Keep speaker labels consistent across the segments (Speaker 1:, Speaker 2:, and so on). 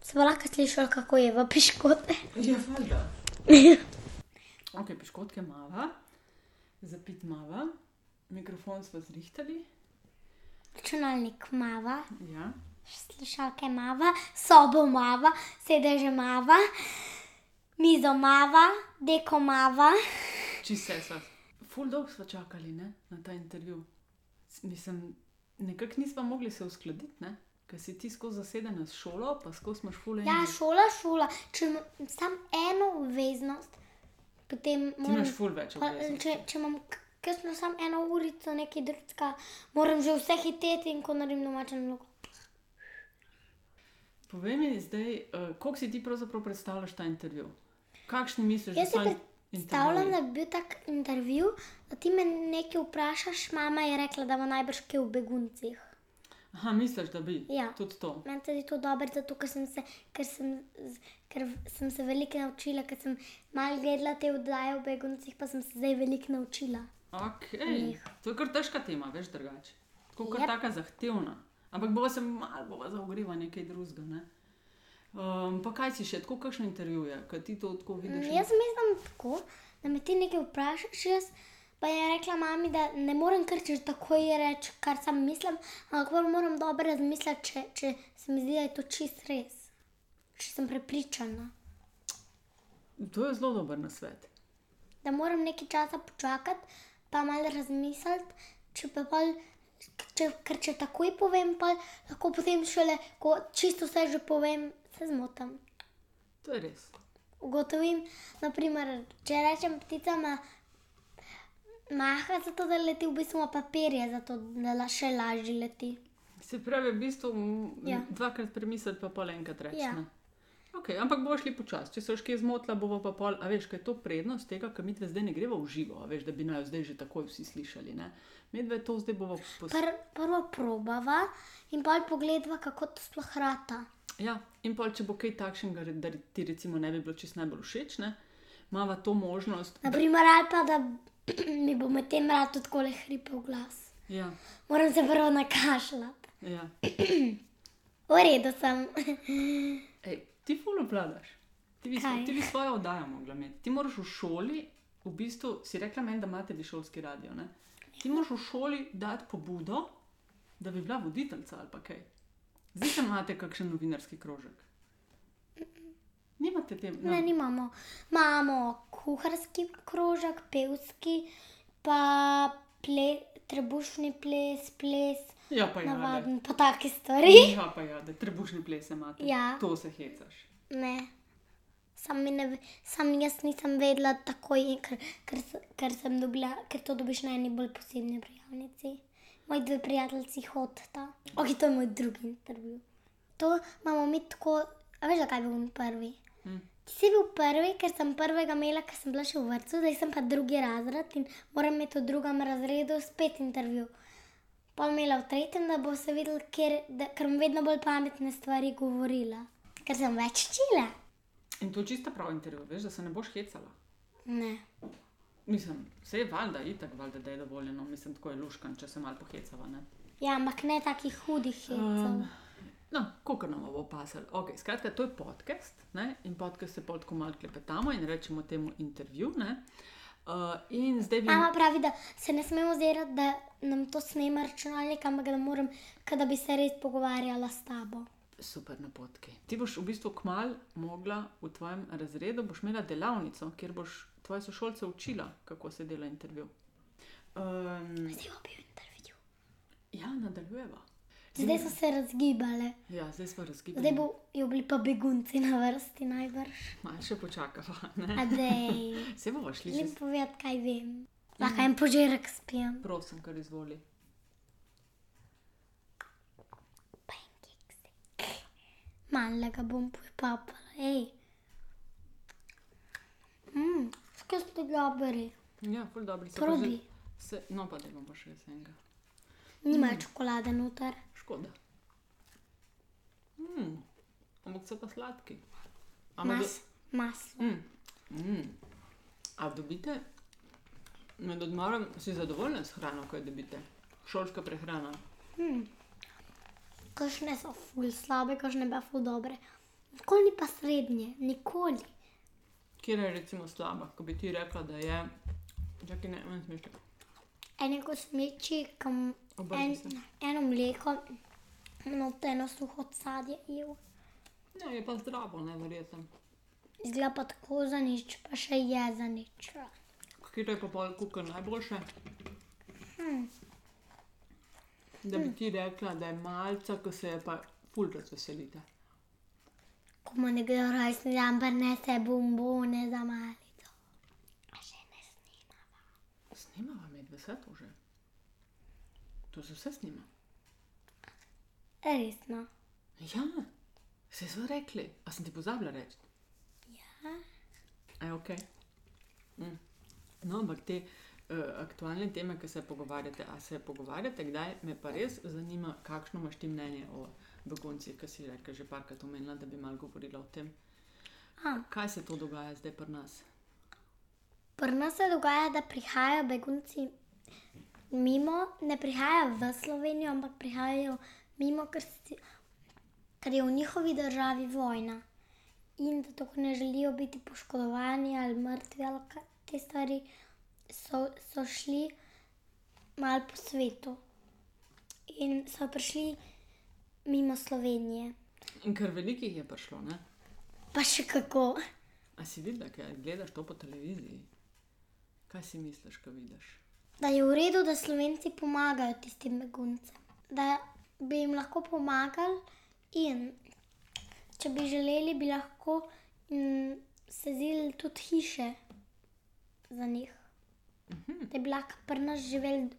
Speaker 1: Smo lahko slišali, kako je v piškote.
Speaker 2: Ja, valjda. ok, piškotke mava, zapit mava, mikrofon smo zrihtali.
Speaker 1: Računalnik mava,
Speaker 2: Ja.
Speaker 1: slušalke mava, sobo mava, sedeže mava, mizo mava, deko mava.
Speaker 2: Čisto vse sva. Ful dolg smo čakali ne, na ta intervju. S- Mislim, nekako nismo mogli se uskladiti, ne? ker si ti skozi zasedena s šolo, pa skozi imaš ful enih.
Speaker 1: Ja, šola, šola. Če imam samo eno obveznost, potem
Speaker 2: ti
Speaker 1: moram.
Speaker 2: imaš ful več
Speaker 1: Pa,
Speaker 2: obveznosti.
Speaker 1: Če, če imam k- kakšno samo eno urico, nekaj drugega, moram že vse hiteti in ko naredim domačo nalogo.
Speaker 2: Povej mi zdaj, uh, koliko si ti pravzaprav predstavljaš ta intervju? Kakšni misliš,
Speaker 1: Jaz si
Speaker 2: da so in-
Speaker 1: predstavljam, da
Speaker 2: intervjuji?
Speaker 1: bi bil tak intervju, da ti me nekaj vprašaš, mama je rekla, da bo najbrž kje v beguncih.
Speaker 2: Aha, misliš, da bi?
Speaker 1: Ja.
Speaker 2: Tudi to.
Speaker 1: Meni se zdi to dobro, zato ker sem se, ker sem, z- ker v- sem se veliko naučila, ker sem malo gledala te vdaje o beguncih, pa sem se zdaj veliko naučila.
Speaker 2: Okay. To je kar težka tema, veš drugače. Tako kar
Speaker 1: Jep.
Speaker 2: yep. tako zahtevna. Ampak bo se malo bova zaogreva nekaj drugega. Ne? Um, pa kaj si še, tako kakšno intervjuje, kaj ti to tako vidiš?
Speaker 1: Mm, Jaz mislim tako, da me ti nekaj vprašaš, jaz pa je rekla mami, da ne morem kar če takoj reči, kar sam mislim, ampak prvo moram dobro razmisliti, če, če se mi zdi, da je to čist res. Če sem prepričana,
Speaker 2: To je zelo dober nasvet.
Speaker 1: da moram nekaj časa počakati, pa malo razmisliti, če pa pol. Če, ker če takoj povem, pa lahko potem šele, ko čisto vse že povem, se zmotam.
Speaker 2: To je res.
Speaker 1: ugotovim, naprimer, če rečem ptica ma, maha, zato da leti, v bistvu ima papirje, zato da la, še lažje leti.
Speaker 2: Se pravi, v bistvu m,
Speaker 1: Ja.
Speaker 2: dvakrat premisliti, pa pol enkrat reči.
Speaker 1: Ja.
Speaker 2: ne. Okay, ampak boš šli počasi, če se boš kje zmotila, bova pa pol. A veš, kaj je to prednost tega, ker mi dve zdaj ne greva v živo, a veš, da bi naj jo zdaj že takoj vsi slišali. ne. Mi dve to zdaj bova poslušala.
Speaker 1: Pr, prvo probava in pa pogledava, kako to sploh rata.
Speaker 2: Ja, in pol, če bo kaj takšnega, da ti recimo ne bi bilo čist najbolj všeč, ne, imamo to možnost.
Speaker 1: Naprimer, ali pa da mi bo med tem rado tako le hripe v glas.
Speaker 2: Ja,
Speaker 1: Moram se prvo nakašljati.
Speaker 2: ja.
Speaker 1: V redu sem.
Speaker 2: Ej, ti ful obladaš, ti bi,
Speaker 1: Kaj?
Speaker 2: ti bi svojo oddajo mogla imeti. Ti moraš v šoli, v bistvu si rekla meni, da imate vi šolski radio, ne? Ti moraš v šoli dati pobudo, da bi bila voditeljica ali pa kaj. Zdaj še imate kakšen novinarski krožek. Nimate tem,
Speaker 1: Ne, nimamo. Imamo kuharski krožek, pevski, pa ple, trebušni ples, ples,
Speaker 2: Ja, pa ja, da.
Speaker 1: navaden, pa take stvari.
Speaker 2: Ja, pa ja, da trebušni ples imate.
Speaker 1: Ja.
Speaker 2: To se hecaš.
Speaker 1: Ne. Sam, mi ne, ve- sam jaz nisem vedela takoj, ker, ker, s- ker sem dobila, ker to dobiš na eni bolj posebni prijavnici. Moji dve prijateljici hodita. Ok, to je moj drugi intervju. To imamo mi tako, a veš, zakaj je bil on prvi?
Speaker 2: Hm.
Speaker 1: Ti si bil prvi, ker sem prvega imela, ker sem bila še v vrtu, zdaj sem pa drugi razred in moram imeti v drugem razredu spet intervju. Pa imela v tretjem, da bo se videl, ker, da, ker bom vedno bolj pametne stvari govorila, ker sem več čila.
Speaker 2: In to je čisto prav intervju, veš, da se ne boš hecala.
Speaker 1: Ne.
Speaker 2: Mislim, vse je valjda, itak valjda, da je dovoljeno, mislim, tako je luškan, če se malo pohecava. Ne?
Speaker 1: Ja, ampak ne takih hudih hecov.
Speaker 2: Em, No, koliko nam bo pasal. Okay, skratka, to je podcast ne? in podcast se pol tako malo klepetamo in rečemo temu intervju. ne. Uh, in zdaj bi.
Speaker 1: Mama pravi, da se ne smemo ozirati, da nam to snema računalnik, ampak da moram, kot da bi se res pogovarjala s tabo.
Speaker 2: Super napotki. Ti boš v bistvu kmal mogla v tvojem razredu, boš imela delavnico, kjer boš tvoje sošolce učila, kako se dela intervju. Um,
Speaker 1: Zdaj bo bil intervju.
Speaker 2: ja, nadaljujeva.
Speaker 1: Zdaj so se razgibale,
Speaker 2: Ja, zdaj smo razgibali.
Speaker 1: zdaj bojo bili pa begunci na vrsti najbrž.
Speaker 2: Malo še počakava. ne?
Speaker 1: Adej,
Speaker 2: Se bomo šli že.
Speaker 1: želim povedati, kaj vem. Lahko en požirek spijem.
Speaker 2: Prosim, kar izvoli.
Speaker 1: Pancakes. Malo ga bom popapala, hej. Mmm, skaj ste dobri.
Speaker 2: Ja, ful dobro.
Speaker 1: Probi.
Speaker 2: Se, no, pa da bomo še jaz enega.
Speaker 1: Nimajo čokolade noter.
Speaker 2: Škoda. Mm. Ampak so pa sladki. Ampak
Speaker 1: Mas, maslo.
Speaker 2: Mm. Mm. A dobite med odmorom, si zadovoljni s hrano, ko jo dobite? Šolska prehrana.
Speaker 1: Kakšne so ful slabe, kakšne pa ful dobre. Nikoli ni pa srednje, nikoli.
Speaker 2: Kjer je recimo slaba, ko bi ti rekla, da je. Čakaj, ne, ne smeš tako.
Speaker 1: Ene kosmiči, kam
Speaker 2: Obrni
Speaker 1: en,
Speaker 2: se.
Speaker 1: eno mleko, no, eno suho sadje je.
Speaker 2: Ja, je pa zdravo, ne verjetno.
Speaker 1: Zgleda pa tako za nič, pa še je za nič.
Speaker 2: Katero je pa pol kukar najboljše? Hm. Da bi ti rekla, da je malca, ko se je pa ful razveselite.
Speaker 1: Ko mu nekdo rojstni dan prinese bombone za malico. A še ne snima.
Speaker 2: Snimava med deseto že. To se vse snima.
Speaker 1: Resno.
Speaker 2: Ja, se so rekli. A sem ti pozabila reči?
Speaker 1: Ja.
Speaker 2: Aj, ok. Mm. No, ampak te uh, aktualne teme, ki se pogovarjate, a se pogovarjate kdaj, me pa res zanima, kakšno imaš ti mnenje o beguncih, ki si rekel že parkrat omenila, da bi mal govorila o tem.
Speaker 1: A.
Speaker 2: Kaj se to dogaja zdaj pri nas?
Speaker 1: Pri nas se dogaja, da prihajajo begunci mimo, ne prihajajo v Slovenijo, ampak prihajajo mimo, ker, si, ker je v njihovi državi vojna in da tako ne želijo biti poškodovani ali mrtvi ali kaj te stvari, so, so šli mal po svetu in so prišli mimo Slovenije.
Speaker 2: In ker velikih je prišlo, ne?
Speaker 1: Pa še kako.
Speaker 2: A si videla, kaj gledaš to po televiziji? Kaj si misliš, ko vidiš?
Speaker 1: da je v redu, da Slovenci pomagajo tistim beguncem, da bi jim lahko pomagali in če bi želeli, bi lahko mm, sezili tudi hiše za njih. Da bi lahko pri nas živeli,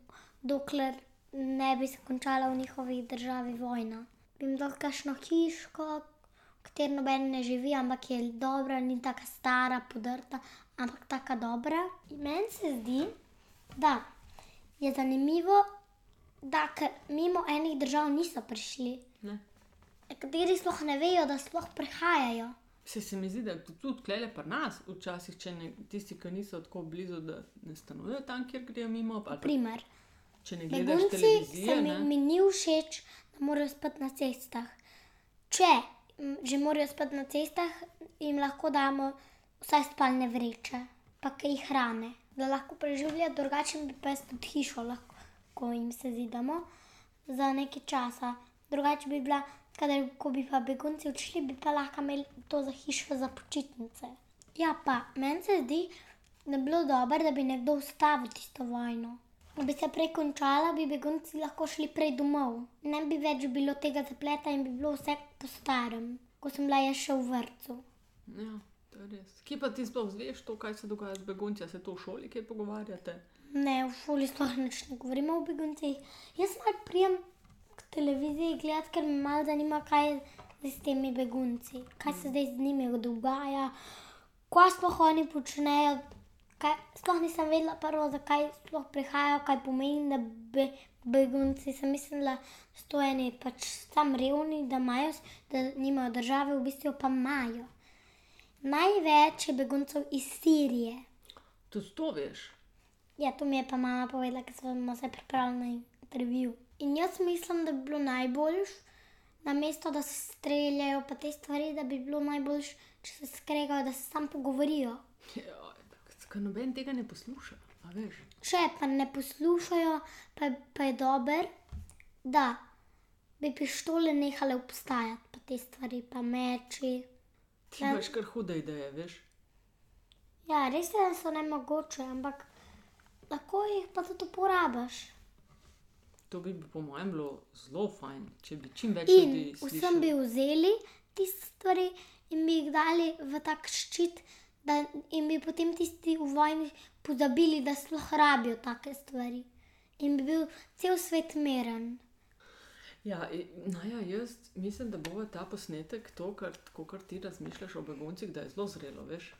Speaker 1: dokler ne bi se končala v njihovi državi vojna. Bi jim dal kakšno hiško, v kateri noben ne živi, ampak je dobra, ni tako stara, podrta, ampak tako dobra. In meni se zdi, Da, je zanimivo, da ker mimo enih držav niso prišli.
Speaker 2: Ne?
Speaker 1: Nekateri sploh ne vejo, da sploh prihajajo.
Speaker 2: Se, se mi zdi, da tudi klele pri nas, včasih, če ne, tisti, ki niso tako blizu, da ne stanujejo tam, kjer grejo mimo, ali pa
Speaker 1: Primer,
Speaker 2: če ne gledaš
Speaker 1: begunci se
Speaker 2: televizije.
Speaker 1: mi,
Speaker 2: ne?
Speaker 1: mi ni všeč, da morajo spati na cestah. Če m, že morajo spati na cestah, jim lahko damo vsaj spalne vreče, pa kaj jih hrane, da lahko preživijo, drugače bi pa jaz tudi hišo lahko, ko jim se zidamo, za nekaj časa. Drugače bi bila, kadar, ko bi pa begunci odšli, bi pa lahko imeli to za hišo za počitnice. Ja, pa meni se zdi, da bi bilo dobro, da bi nekdo ustavil tisto vojno. Da bi se prej končala, bi begunci lahko šli prej domov. Ne bi več bilo tega zapleta in bi bilo vse po starem, ko sem bila jaz še v vrtu.
Speaker 2: Ja, to je res. Kje pa ti sploh znaš to, kaj se dogaja z begunci, a se to v šoli kaj pogovarjate?
Speaker 1: Ne, v šoli sploh nič ne govorimo o beguncih. Jaz malo prijem k televiziji gledati, ker me malo zanima, kaj je zdaj s temi begunci, kaj se zdaj z njimi dogaja, kaj sploh oni počnejo. Kaj, sploh nisem vedela, prvo, zakaj sploh prihajajo, kaj pomeni, da be, begunci. Sem mislila, da so to eni pač tam revni, da, imajo, s- da nimajo države, v bistvu pa imajo. Največ je beguncev iz Sirije.
Speaker 2: Tudi to veš.
Speaker 1: Ja, to mi je pa mama povedala, ker smo se pripravili na intervju. In jaz mislim, da bi bilo najboljš, namesto da se streljajo pa te stvari, da bi bilo najboljš, če se skregajo, da se sam pogovorijo.
Speaker 2: Joj, Ker noben tega ne posluša, a veš.
Speaker 1: Če pa ne poslušajo, pa, pa je dober, da bi pištole nehale obstajati, pa te stvari, pa meči.
Speaker 2: Ti
Speaker 1: Ja.
Speaker 2: imaš kar hude ideje, veš.
Speaker 1: Ja, res je, da so ne mogoče, ampak lahko jih pa tudi uporabiš.
Speaker 2: To bi po mojem bilo zelo fajn, če bi čim več ljudi
Speaker 1: In
Speaker 2: slišalo.
Speaker 1: vsem bi vzeli tiste stvari in bi jih dali v tak ščit, da jim bi potem tisti v vojni pozabili, da sploh rabijo take stvari. In bi bil cel svet miren.
Speaker 2: Ja, i- Naja, jaz mislim, da bo ta posnetek, to, kar, tako kar ti razmišljaš o beguncih, da je zelo zrelo, veš.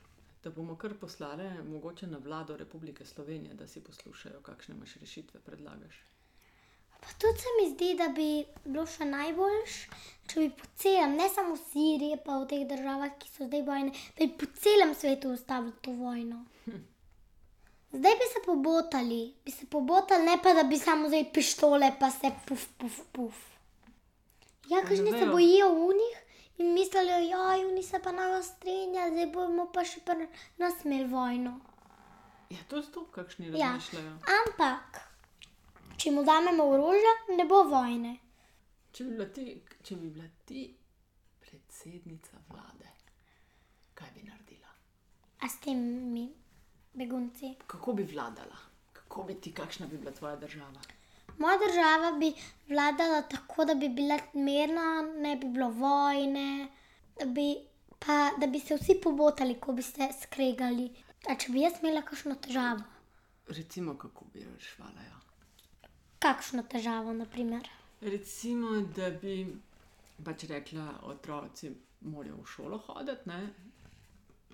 Speaker 2: Da bomo kar poslali mogoče na vlado Republike Slovenije, da si poslušajo, kakšne imaš rešitve, predlagaš.
Speaker 1: Pa tudi se mi zdi, da bi bilo še najboljš, če bi po celem, ne samo v Siriji, pa v teh državah, ki so zdaj vojne, da bi po celem svetu ustavili to vojno. Zdaj bi se pobotali, bi se pobotali, ne pa da bi samo zdaj pištole, pa se puf, puf, puf. Ja,
Speaker 2: ne
Speaker 1: kažni se
Speaker 2: vejo.
Speaker 1: bojijo unih in mislili, joj, oni se pa naj ostrinja, zdaj bomo pa še pri nas imeli vojno.
Speaker 2: Ja, to je to, kakšni
Speaker 1: Ja.
Speaker 2: razmišljajo. Ja.
Speaker 1: Ampak, če mu damemo orožje, ne bo vojne.
Speaker 2: Če, bi bila ti, če bi bila ti predsednica vlade, kaj bi naredila?
Speaker 1: A s temi begunci.
Speaker 2: Kako bi vladala? Kako bi ti, kakšna bi bila tvoja država?
Speaker 1: Moja država bi vladala tako, da bi bila mirna, ne bi bilo vojne, da bi, pa, da bi se vsi pobotali, ko bi se skregali. A če bi jaz imela kakšno težavo,
Speaker 2: Recimo, kako bi jo reševala. Ja.
Speaker 1: kakšno težavo, naprimer.
Speaker 2: Recimo, da bi pač rekla, otroci morajo v šolo hoditi, ne?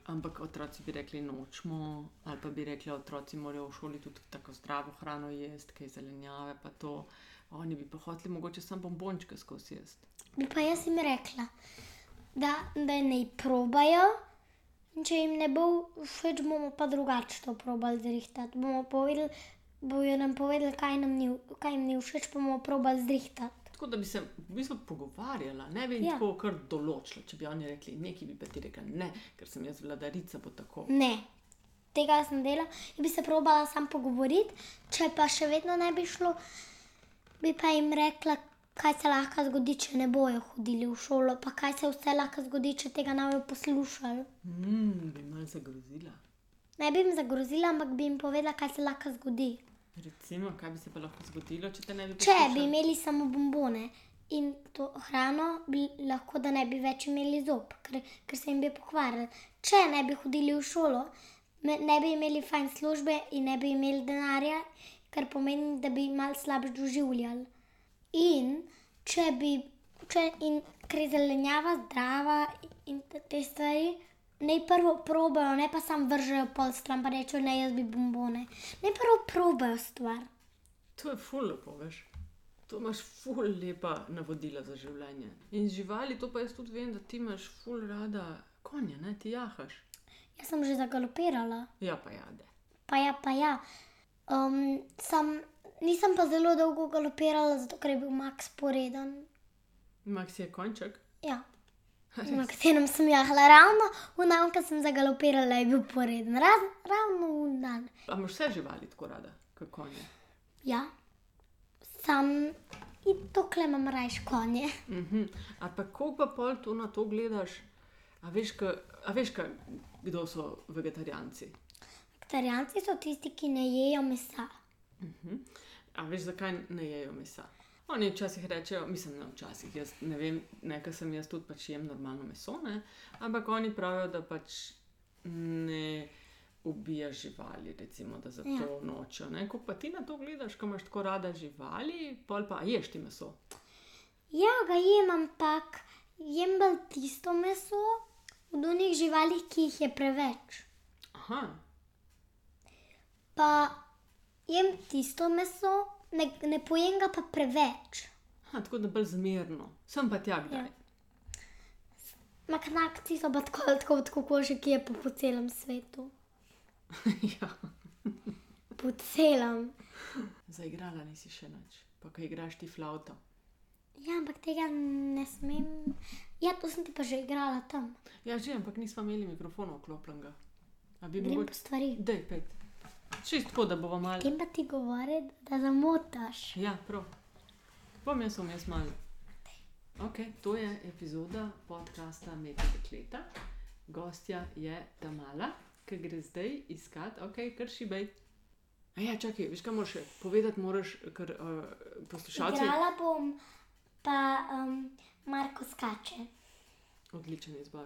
Speaker 2: ampak otroci bi rekli, nočemo, ali pa bi rekli, otroci morajo v šoli tudi tako zdravo hrano jesti, kaj zelenjave, pa to. Oni bi pa hoteli mogoče samo bombončke skozi jesti.
Speaker 1: Bi pa jaz jim rekla, da, da naj probajo. in Če jim ne bo všeč, bomo pa drugače to probali zrihtati. Bomo povedali, bojo nam povedali, kaj, nam ni, kaj jim ni všeč, pa bomo probali zrihtati.
Speaker 2: Tako da bi se v bistvu pogovarjala, ne bi jim
Speaker 1: Ja.
Speaker 2: ja. tako kar določila. Če bi oni rekli, nekaj bi pa ti rekla, ne, ker sem jaz vladarica, bo tako.
Speaker 1: Ne, tega jaz ne delam in bi se probala sam pogovoriti. Če pa še vedno ne bi šlo, bi pa jim rekla, kaj se lahko zgodi, če ne bojo hodili v šolo, pa kaj se vse lahko zgodi, če tega ne bojo poslušali.
Speaker 2: Mm, bi mal zagrozila.
Speaker 1: Ne bi jim zagrozila, ampak bi jim povedala, kaj se lahko zgodi.
Speaker 2: Recimo, kaj bi se pa lahko zgodilo, če te ne bi
Speaker 1: Če
Speaker 2: poslušali?
Speaker 1: bi imeli samo bombone in to hrano, bi lahko da ne bi več imeli zob, ker, ker se jim bi pokvarili. Če ne bi hodili v šolo, me- ne bi imeli fajn službe in ne bi imeli denarja, kar pomeni, da bi mal slabš doživljali. In če bi, če in ker je zelenjava zdrava in te- te stvari. Naj prvo probejo, ne pa sam vržejo pol stran, pa rečejo, ne, jaz bi bombone. Naj prvo probejo stvar.
Speaker 2: To je ful lepo, veš. To imaš ful lepa navodila za življenje. In živali, to pa jaz tudi vem, da ti imaš ful rada konje, ne ti jahaš.
Speaker 1: Jaz sem že zagalopirala,
Speaker 2: Ja, pa jade.
Speaker 1: pa ja, pa ja. Um, sam, nisem pa zelo dolgo galopirala, zato ker je bil Max poreden.
Speaker 2: Max je konček.
Speaker 1: Ja. Na katerem sem jahala ravno, v dan, ko sem zagalopirala, je bil poreden, Raz, ravno v dan.
Speaker 2: A imaš vse živali tako rada, kot konje.
Speaker 1: Ja, sam in tokle imam rajš konje.
Speaker 2: Mhm. A pa koliko pa pol tu na to gledaš, a veš, ka, a veš ka, kdo so vegetarijanci.
Speaker 1: Vegetarijanci so tisti, ki ne jejo mesa.
Speaker 2: A veš, zakaj ne jejo mesa? Oni včasih rečejo, mislim, da včasih, jaz ne vem, nekaj sem jaz tudi pač jem normalno meso, ne? ampak oni pravijo, da pač ne ubija živali, recimo, da zato ja. nočejo. ne. Ko pa ti na to gledaš, ko imaš tako rada živali, pol pa a ješ ti meso.
Speaker 1: Ja, ga jem, ampak jem bolj tisto meso od onih živali, ki jih je preveč.
Speaker 2: Aha,
Speaker 1: pa jem tisto meso, ne, ne pojem ga pa preveč.
Speaker 2: Aha tako da bolj zmerno, sem pa tja kdaj. Ja.
Speaker 1: Maknakci so pa tako, tako, tako koši, ki je po, po celem svetu.
Speaker 2: ja.
Speaker 1: Po celem.
Speaker 2: Zaigrala nisi še nič, pa kaj igraš ti flauto.
Speaker 1: Ja, ampak tega ne smem. Ja, to sem ti pa že igrala tam.
Speaker 2: Ja, že, ampak nismo imeli mikrofona vklopljenega. A bi
Speaker 1: Grem
Speaker 2: mogoče-
Speaker 1: po stvari.
Speaker 2: Dej, pet. Čist tako, da bomo malo.
Speaker 1: Grem pa ti govoriti, da zamotaš.
Speaker 2: Ja, prav. Bom jaz vmes malo. Okay, to je epizoda podcasta Meta Dekleta. Gostja je Tamala, ki gre zdaj iskat, ok, kar šibej. A ja, čakaj, veš kaj moraš še? povedati, moraš, ker uh, poslušalci.
Speaker 1: Igrala bom pa um, Marko skače.
Speaker 2: Odličen izbor.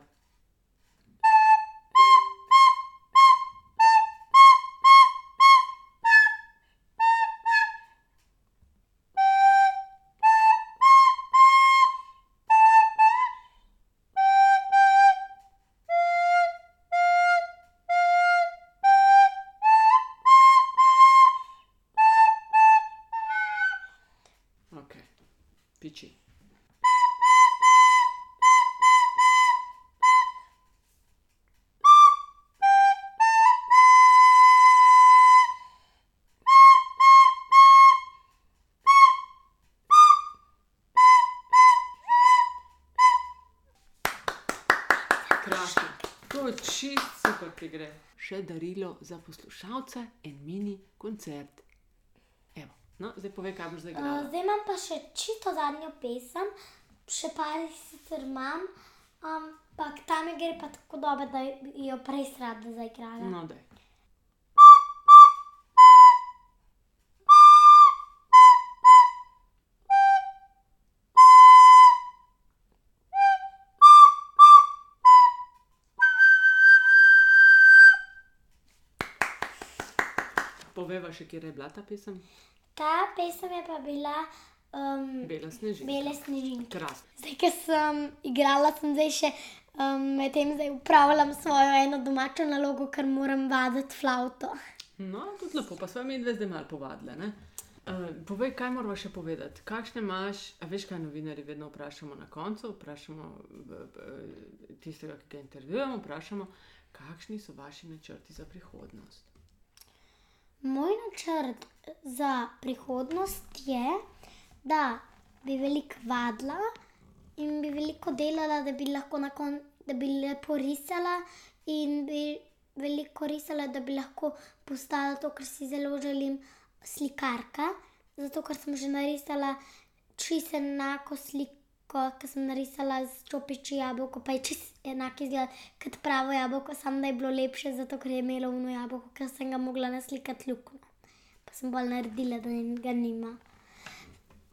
Speaker 2: Okay. Piči. Krasno. To je čist super, ti gre. Še darilo za poslušalce, en mini koncert. Evo, no, zdaj povej, kaj boš zdaj
Speaker 1: Uh,
Speaker 2: igral.
Speaker 1: zdaj imam pa še čisto zadnjo pesem, še par jih sicer imam, ampak tam je gre pa tako dobro, da bi jo prej rada zaigrala.
Speaker 2: No, daj. Poveva še, kje je bila ta pesem?
Speaker 1: Ta pesem je pa bila um,
Speaker 2: Bela snežina.
Speaker 1: Bele snežinke.
Speaker 2: Krasno.
Speaker 1: Zdaj, ker sem igrala, sem zdaj še um, medtem zdaj upravljam svojo eno domačo nalogo, ker moram vaditi flavto.
Speaker 2: No, tudi lepo, pa smo mi dve zdaj malo povadili. ne? Uh, povej, kaj moramo še povedati? Kakšne imaš, a veš, kaj novinari vedno vprašamo na koncu, vprašamo eh, eh, tistega, ki ga intervjujemo, vprašamo, kakšni so vaši načrti za prihodnost.
Speaker 1: Moj načrt za prihodnost je, da bi veliko vadila in bi veliko delala, da bi lahko na koncu, da bi lepo risala in bi veliko risala, da bi lahko postala to, kar si zelo želim, slikarka. Zato, ker sem že narisala čisto enako sliko, ki sem narisala z čopiči jabolko, pa je čisto enako izgled kot pravo jabolko, samo da je bilo lepše, zato ker je imelo uno jabolko, ker sem ga mogla naslikati luknjo. Pa sem bolj naredila, da ga nima.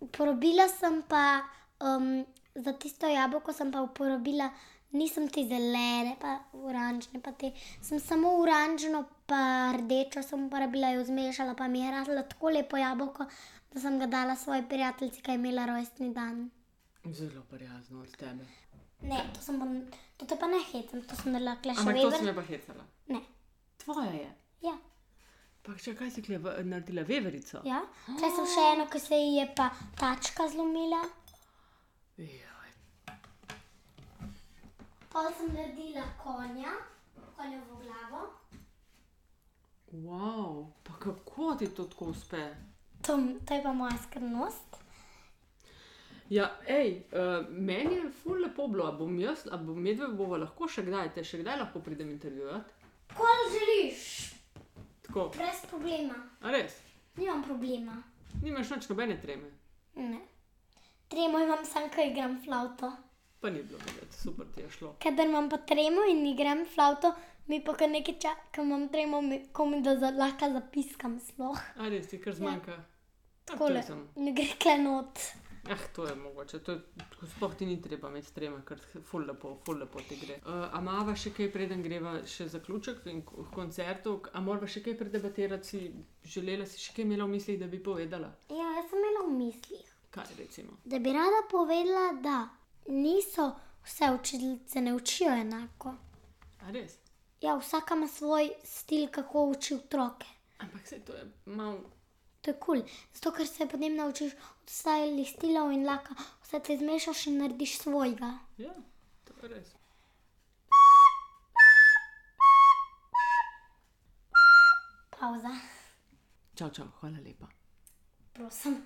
Speaker 1: Uporabila sem pa um, za tisto jabolko, sem pa uporabila, nisem te zelene, pa oranžne, pa te. Sem samo oranžno, pa rdečo sem uporabila, jo zmešala, pa mi je raslo tako lepo jabolko, da sem ga dala svoji prijateljici, ki je imela rojstni dan.
Speaker 2: Zelo prijazno od tebe.
Speaker 1: Ne, to, sem pa, to te pa ne hecam, to sem naredila klešče.
Speaker 2: Ampak to si me pa hecala.
Speaker 1: Ne,
Speaker 2: Tvoja je.
Speaker 1: ja.
Speaker 2: Pa še kaj si kle, v- naredila veverico?
Speaker 1: Ja, tle sem še eno, ki se ji je pa tačka zlomila.
Speaker 2: Joj.
Speaker 1: Pol sem naredila konja, konjevo glavo.
Speaker 2: Wow, pa kako ti to tako uspe?
Speaker 1: To, to je pa moja skrbnost.
Speaker 2: Ja, ej, uh, meni je ful lepo bilo, a bom jaz, a bom medve bova lahko še kdaj, te še kdaj lahko pridem intervjuvati.
Speaker 1: Kol želiš,
Speaker 2: Tako,
Speaker 1: brez problema.
Speaker 2: a res,
Speaker 1: Nimam problema.
Speaker 2: nimaš nič nobene treme,
Speaker 1: Ne. Tremo imam sam, ko igram flavto.
Speaker 2: pa ni bilo videti, super ti je šlo.
Speaker 1: Kadar imam pa tremo in igram flavto, mi pa kar nekaj časa, ko imam tremo, mi- ko mi da za, lahko zapiskam sploh.
Speaker 2: A res ti kar zmanjka. Ja.
Speaker 1: Kole, ne gre klenot.
Speaker 2: Ah, to je mogoče, to je, tako sploh ti ni treba imeti treme, ker ful lepo, ful lepo ti gre. Uh, a mava še kaj preden greva še zaključek in k- koncertov, a morava še kaj predebatirati, si želela si še kaj imela v mislih, da bi povedala?
Speaker 1: Ja, jaz sem imela v mislih.
Speaker 2: Kaj recimo?
Speaker 1: Da bi rada povedala, da niso vse učiteljice ne učijo enako.
Speaker 2: A res?
Speaker 1: Ja, vsaka ima svoj stil, kako uči otroke.
Speaker 2: Ampak se to je malo.
Speaker 1: To je kul, cool. zato ker se potem naučiš od ostalih stilov in laka, vse te zmešaš in narediš svojega.
Speaker 2: Ja, to je res.
Speaker 1: Pauza,
Speaker 2: Čau, čau, hvala lepa.
Speaker 1: prosim.